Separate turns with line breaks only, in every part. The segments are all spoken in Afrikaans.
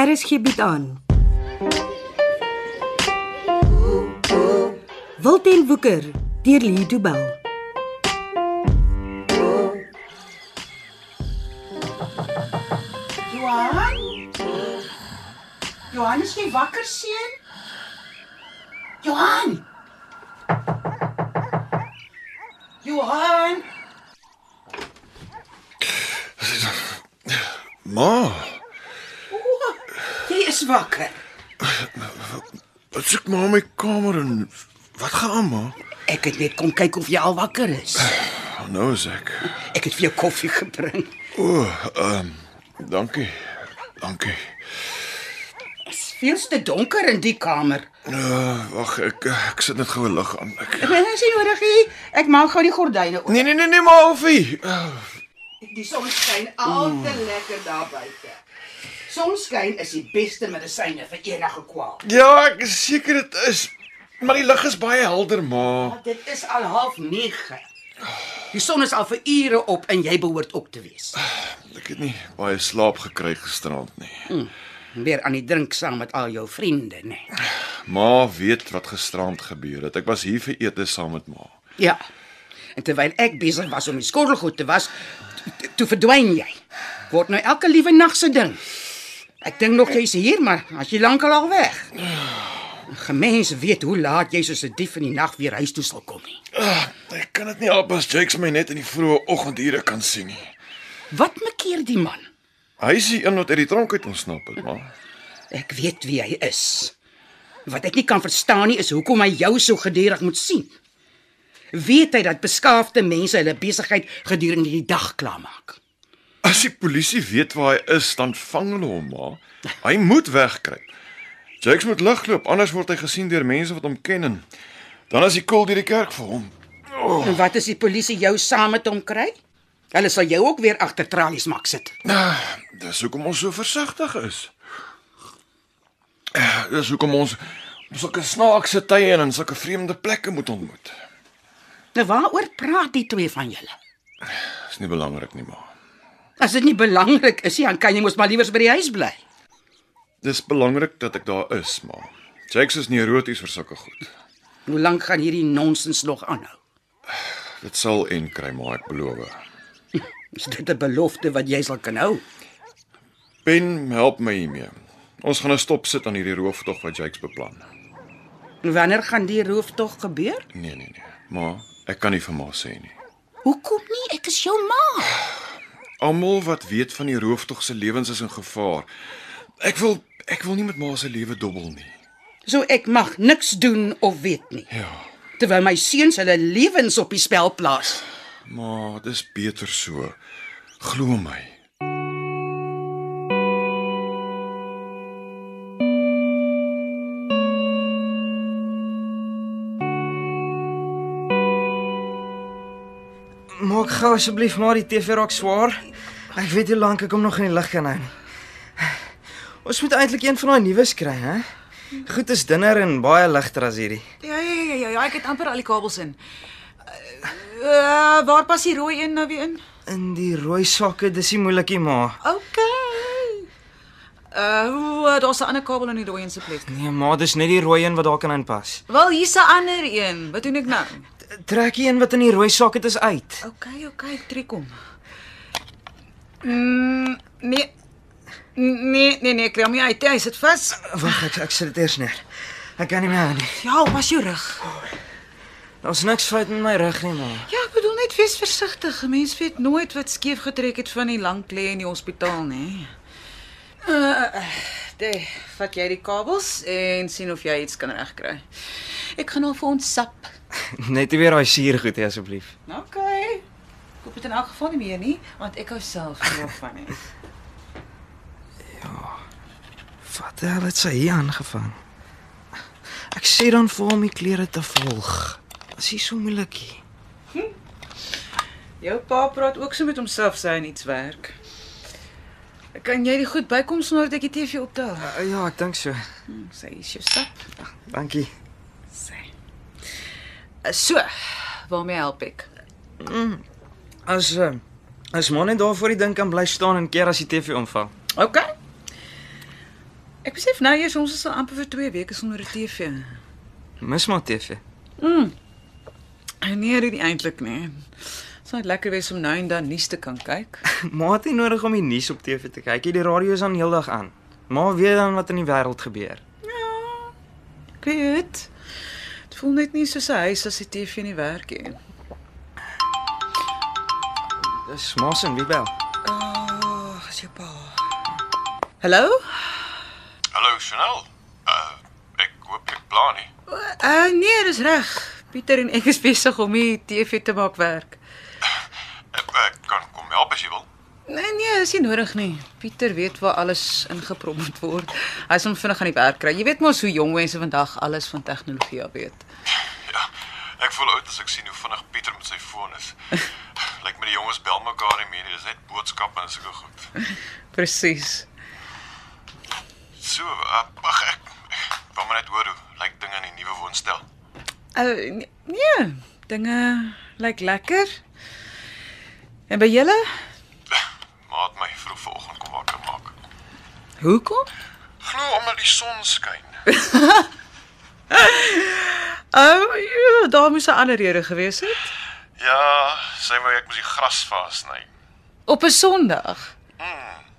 Er
RSG bied aan. Wilten Woeker deur Lee Du Bell.
Johan? Johan is jy wakker seun? Johan. Johan,
Ma,
jy is wakker.
wat soek ma in my kamer en wat gaan aan ma?
Ek het net kom kyk of jy al wakker is.
Oh, nou is ek.
Ek het vir jou koffie gebring.
O, ehm dankie. Dankie.
Dit is veel te donker in die kamer.
Uh, wag, ek ek sit net gou 'n lig aan. Ek
Dit is nie nodig nie. Ek maak gou die gordyne oop.
Nee nee nee nee ma, Alfie. Uh,
Die son skyn al te lekker daar buite. Sonskyn is die beste medisyne vir enige kwaal.
ja, ek is seker dit is. Maar die lig is baie helder, ma.
Dit is al half 9. Die son is al vir ure op en jy behoort op te wees.
Ek het nie baie slaap gekry gisterand nie.
Weer aan die drink saam met al jou vriende, nê. Nee.
Ma weet wat gisterand gebeur het. Ek was hier vir ete saam met ma.
Ja. En terwyl ek besig was om die skottelgoed te was, t- toe verdwyn jy. Word nou elke liewe nag se ding. Ek dink nog jy's hier, maar as jy lankal al weg. Gemens weet hoe laat jy soos 'n dief in die nag weer huis toe sal kom nie.
Uh, ek kan dit nie help as Jakes my net in die vroeë oggendure kan sien nie.
Wat maak hier die man?
Hy is die een wat uit die tronk uit ontsnap het, maar
Ek weet wie hy is. Wat ek nie kan verstaan nie is hoekom hy jou so gedurig moet sien. Weet hy dat beskaafde mense hulle besigheid gedurende die dag klaarmaak?
as die polisie weet waar hy is, dan vang hulle hom maar. Hy moet wegkruip. Jakes moet ligloop, anders word hy gesien deur mense wat hom ken en dan as hy koel deur die kerk vir hom. Oh,
En wat as die polisie jou saam met hom kry? Hulle sal jou ook weer agter tralies maak sit.
Ah, dis hoekom ons so versigtig is. Eh, Dis hoekom ons op sulke snaakse tye en in sulke vreemde plekke moet ontmoet.
Nou waaroor praat die twee van julle?
Dis nie belangrik nie, maar
As dit nie belangrik is nie, dan kan jy mos maar liewers by die huis bly.
dis belangrik dat ek daar is, maar Jakes is neuroties vir sulke goed.
Hoe lank gaan hierdie nonsens nog aanhou?
Dit sal en kry maar ek beloof.
Is dit 'n belofte wat jy sal kan hou?
Ben, help my hiermee. Ons gaan 'n stop sit aan hierdie rooftog wat Jakes beplan.
Wanneer gaan die rooftog gebeur?
Nee, nee, nee. Ma, ek kan nie vir ma sê nie.
Hoekom nie? Ek is jou ma.
Almal wat weet van die rooftog se lewens is in gevaar. Ek wil ek wil nie met ma se lewe dobbel nie.
So ek mag niks doen of weet nie.
Ja,
Terwyl my seuns hulle lewens op die spel plaas.
ma, dis beter so. Glo my.
Maak gou asseblief maar die TV raak swaar. Ek weet hoe lank ek hom nog in die lig kan hou. Ons moet eintlik een van daai nuus kry, hè? Goed is dinner en baie ligter as hierdie.
Ja ja ja ja, ja ek het amper al die kabels in. Uh, waar pas die rooi een nou weer in?
In die rooi sakke, dis nie moeilikie maar.
OK. Uh, hoe, daar's 'n ander kabel in die rooi een se plek.
Nee, maar dis net die rooi een wat daar kan inpas.
Wel, hier's 'n ander een. Wat doen ek nou?
T- Trek die een wat in die rooi sak het is uit.
OK, OK, ek trek hom. Mm, nee. Nee, nee, nee, ek kry hom nie uit. nie, Hy sit vas.
Wag, ek ek sit dit eers neer. Ek kan nie meer hou nie.
Ja, pas jou rug.
Daar's niks fout met my rug nie, maar.
Ja, ek bedoel net wees versigtig. 'n Mens weet nooit wat skeef getrek het van die lank lê in die hospitaal, nê. Uh, Dit, vat jy die kabels en sien of jy iets kan regkry. Ek gaan al vir ons sap.
Net nie weer daai suurgoed hê asseblief.
OK. Koop dit in elk geval nie meer nie, want ek hou self daarvan nie.
Wat die hel het sy hier aangevang? Ek sê dan vir hom die klere te volg. Dis nie so moeilikie.
Jou pa praat ook so met homself sy en iets werk. Kan jy dit goed bykom sonder dat ek die TV optel?
Uh, ja, ek dink so.
Sy is jou sap.
Dankie.
Sy. Eh, So, waarmee help ek?
As uh, as maar net daar voor die ding kan bly staan en keer as die TV omval.
OK.
Ek besef nou eers ons is al amper vir 2 weke sonder 'n TV.
Mis maar TV.
En Nee, dit eintlik nie. Dit sou lekker wees om nou en dan nuus te kan kyk.
Maar het nie nodig om die nuus op TV te kyk. nie. Die radio is aan heeldag aan. Maar weet dan wat in die wêreld gebeur.
Ek weet. Dit voel net nie soos 'n huis as die TV nie werk nie.
Dis mos en wie bel.
Ag, as Ah, jou pa. Hallo?
Hallo Chanel. Uh ek hoop ek pla nie.
Uh nee, dis reg. Pieter en ek is besig om die TV te maak werk.
Ek, ek kan kom help as jy wil.
Nee nee, dis nie nodig nie. Pieter weet waar alles ingeprop moet word. Hy is om vinnig aan die werk kry. Jy weet mos hoe jong mense vandag alles van tegnologie af weet.
Ja. Ek voel oud as ek sien hoe vinnig Pieter met sy foon is. Lyk my die jonges bel mekaar nie meer nie. Dis net boodskappe en sulke goed.
Presies.
So, uh, ag ek ek kom maar net hoor hoe lyk dinge in die nuwe woonstel.
Uh nee, nee, dinge lyk lekker. En by julle?
Maat my vroeg vanoggend kom wakker maak.
Hoekom?
Glo omdat die son skyn.
Ou, oh, daar moes 'n ander rede gewees het.
Ja, sy wou ek moes die gras vasny.
Op 'n Sondag.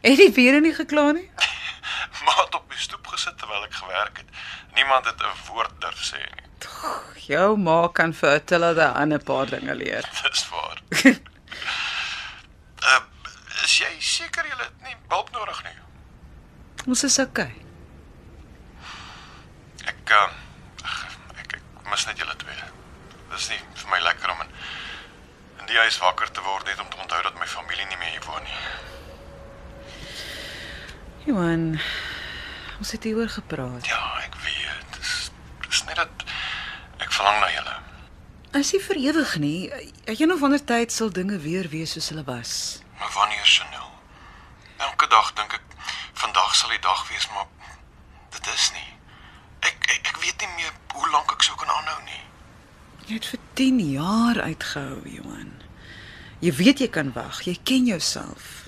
Het die weer nie gekla nie?
Maat op die stoep gesit terwyl ek gewerk het. Niemand het 'n woord durf sê nie.
Jou ma kan vir Attila daai ander paar dinge leer.
Dis waar. uh, is jy seker jy het nie hulp nodig nie?
Ons is okay.
Ek uh, ag, ek, ek mis net julle twee. Dis nie vir my lekker om in, in die huis wakker te word net om te onthou dat my familie nie meer hier woon nie.
Johan, ons het hieroor gepraat.
Ja, ek weet. Dis dis net dat ek verlang na julle.
As jy vir ewig nie, een of ander tyd sal dinge weer wees soos hulle was.
Maar wanneer Chanel? Elke dag dink ek vandag sal die dag wees, maar dit is nie. Ek ek, ek weet nie meer hoe lank ek so kan aanhou nie.
Jy het vir 10 jaar uitgehou, Johan. Jy weet jy kan wag. Jy ken jouself.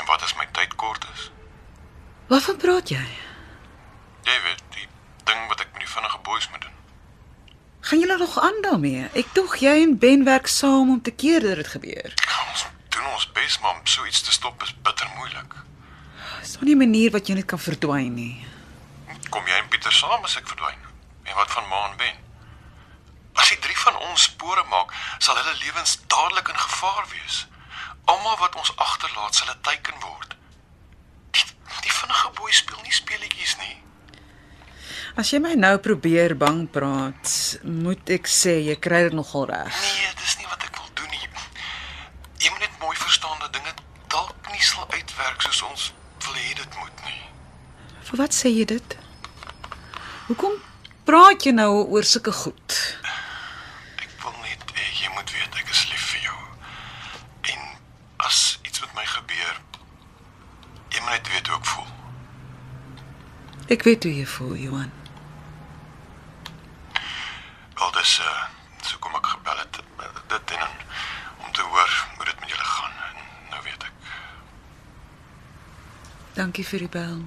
En wat as my tyd kort is?
Waarvan praat jy?
Jy weet, die ding wat ek met die vinnige boeis moet doen.
Gaan julle nog aan daarmee? Ek tog jy en Ben werk saam om te keer dat dit gebeur.
Nou, Ons doen ons bes, maar om so iets te stop is bitter moeilik.
Is daar nou nie 'n manier wat jy net kan verdwyn nie?
Kom jy en Pieter saam as ek verdwyn? En wat van Ma en Ben? As die drie van ons spore maak, sal hulle lewens dadelik in gevaar wees. Almal wat ons agterlaat, sal 'n teiken word. Die, die vinnige boei speel nie speletjies nie.
As jy my nou probeer bang praat, moet ek sê jy kry dit nogal reg.
Nee, dis nie wat ek wil doen nie. Jy moet net mooi verstaan dat dinge dalk nie sal uitwerk soos ons wil hê dit moet nie.
Vir wat sê jy dit? Hoekom praat jy nou oor sulke goed?
Ek wil net hê jy moet weet ek is lief vir jou. En as iets met my gebeur, jy moet net weet hoe ek voel.
Ek weet hoe jy voel, Johan.
Wel dis uh so kom ek gebel het eh, dit en dan om te hoor hoe dit met julle gaan en nou weet ek.
Dankie vir die bel.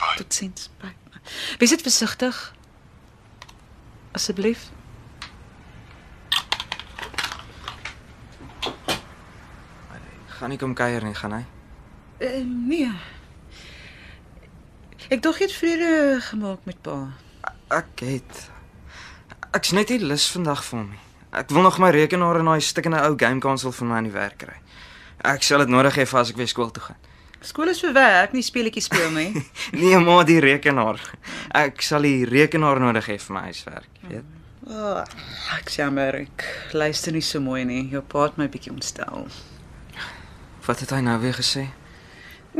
Bye.
Totsiens. Bye. Wees net versigtig. Asseblief.
Gaan nie kom kuier nie, gaan hy.
Uh, nee. Ek dog jy het vrede gemaak met pa.
Ek het ek's net nie lus vandag vir hom nie. Ek wil nog my rekenaar en daai stikkende ou game console vir my aan die werk kry. Ek sal dit nodig hê vir as ek weer skool toe gaan.
Skool is vir werk, nie speletjies speel nie.
Nee, maar die rekenaar. Ek sal die rekenaar nodig hê vir my huiswerk, jy weet.
oh, ek jammer, ek luister nie so mooi nie. Jou pa het my bietjie ontstel.
Wat het hy nou weer gesê?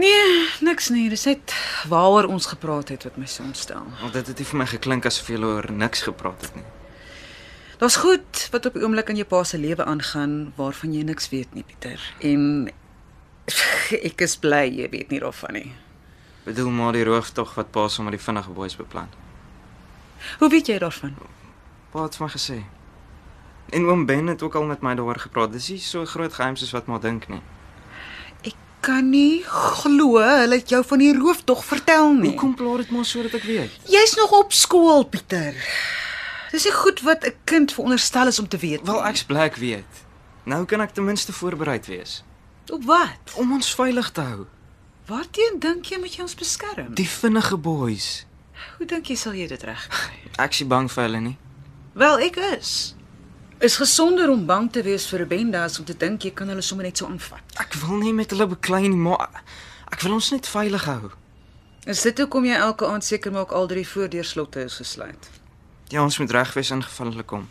Nee, niks nie. Dis net waaroor ons gepraat het wat my so ontstel.
Want dit het nie vir my geklink asof jy oor niks gepraat het nie.
Daar's goed wat op die oomblik in jou pa se lewe aangaan waarvan jy niks weet nie, Pieter. En ek is bly jy weet nie daarvan nie.
Bedoel maar die rooftog wat pa sommer die vinnige boeis beplan.
Hoe weet jy daarvan?
Pa het vir my gesê. En oom Ben het ook al met my daaroor gepraat. Dis nie so groot geheim soos wat maar dink nie.
kan nie glo hulle het jou van die rooftog vertel nie.
Hoekom pla dit maar sodat ek weet?
Jy's nog op skool, Pieter. Dis nie goed wat 'n kind veronderstel is om te weet.
Wel ek's bly ek weet. Nou kan ek ten minste voorbereid wees
op wat?
om ons veilig te hou.
Waarteen dink jy moet jy ons beskerm?
Die vinnige boys.
Hoe dink jy sal jy dit reg?
Ek's nie bang vir hulle nie.
Wel, ek is. Is gesonder om bang te wees vir 'n bende as om te dink jy kan hulle sommer net so aanvat.
Ek wil nie met hulle beklei nie, maar ek wil ons net veilig hou.
Is dit hoekom jy elke aand seker maak al drie voordeurslotte is gesluit?
Ja, ons moet reg wees ingeval hulle kom.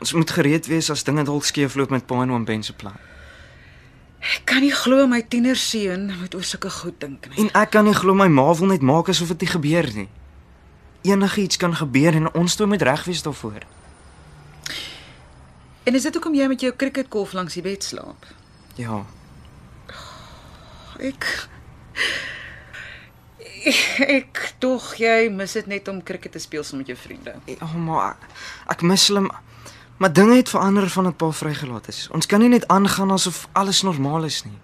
Ons moet gereed wees as dinge dalk skeefloop met Pa en Oom Ben se plan.
Ek kan nie glo my tienerseun moet oor sulke goed dink nie.
En ek kan nie glo my ma wil net maak asof dit nie gebeur nie. Enigiets kan gebeur en ons twee moet reg wees daarvoor.
En is dit hoekom jy met jou cricketkolf langs die bed slaap?
Ja,
Ek ek tog jy mis dit net om cricket te speel saam met jou vriende.
ja maar ek, ek mis hulle ma- maar dinge het verander van dit pa vrygelaat is. Ons kan nie net aangaan asof alles normaal is nie.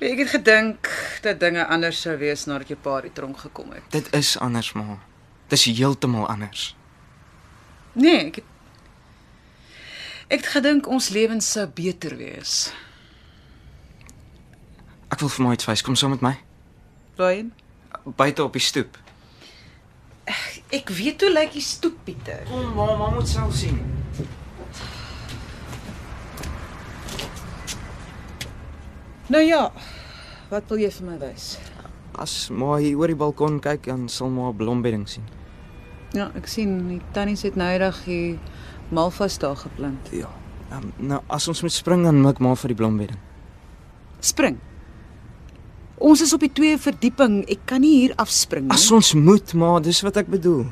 Ek het gedink dat dinge anders sou wees nadat jou pa uit die tronk gekom het.
Dit is anders ma. Dis heeltemal anders.
Nee, ek het Ek het gedink ons lewens sou beter wees.
Ek wil vir my iets wys. Kom saam met my.
Brian,
Buite op die stoep.
ek weet hoe lyk die stoep Pieter.
Kom ma, ma moet self sien.
Nou ja, wat wil jy vir my wys?
As ma hier oor die balkon kyk, dan sal ma 'n blombedding sien.
Ja, ek sien die tannies het noudag die malvas daar geplant.
Ja. Um, nou as ons moet spring dan mik ma vir die blombedding.
Spring. Ons is op die tweede verdieping. Ek kan nie hier afspring
As ons moet, maar dis wat ek bedoel.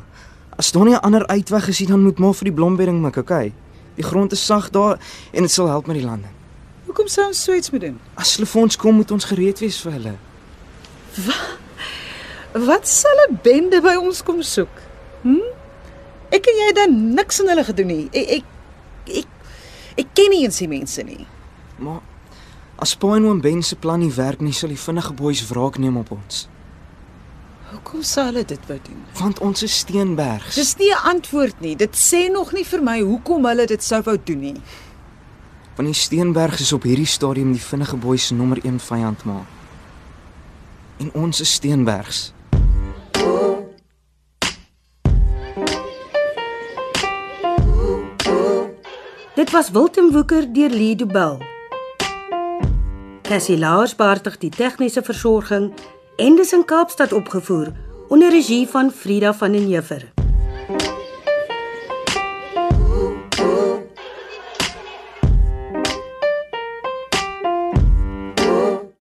As daar nie 'n ander uitweg is nie, dan moet maar vir die blombedding mik, okay? Die grond is sag daar en dit sal help met die landing.
Hoekom sou ons so iets moet doen?
As hulle vir ons kom, moet ons gereed wees vir hulle.
Wat sal 'n bende by ons kom soek? Hm? Ek en jy het dan niks aan hulle gedoen nie. Ek ek ek, ek ken nie eens die mense nie.
Maar as Pa en Oom Ben se plan nie werk nie, sal die vinnige boeis wraak neem op ons.
Hoekom sal hulle dit wou doen?
Want ons is Steenbergs.
Dis nie 'n antwoord nie. Dit sê nog nie vir my hoekom hulle dit sou wou doen nie.
Want die Steenbergs is op hierdie stadium die vinnige boeis se nommer 1 vyand maar. En ons is Steenbergs.
Dit was Wilten Woeker deur Lee Du Bell. Cassie Lars beheerdig die tegniese versorging en dis in Kaapstad opgevoer onder regie van Frida van den Heever.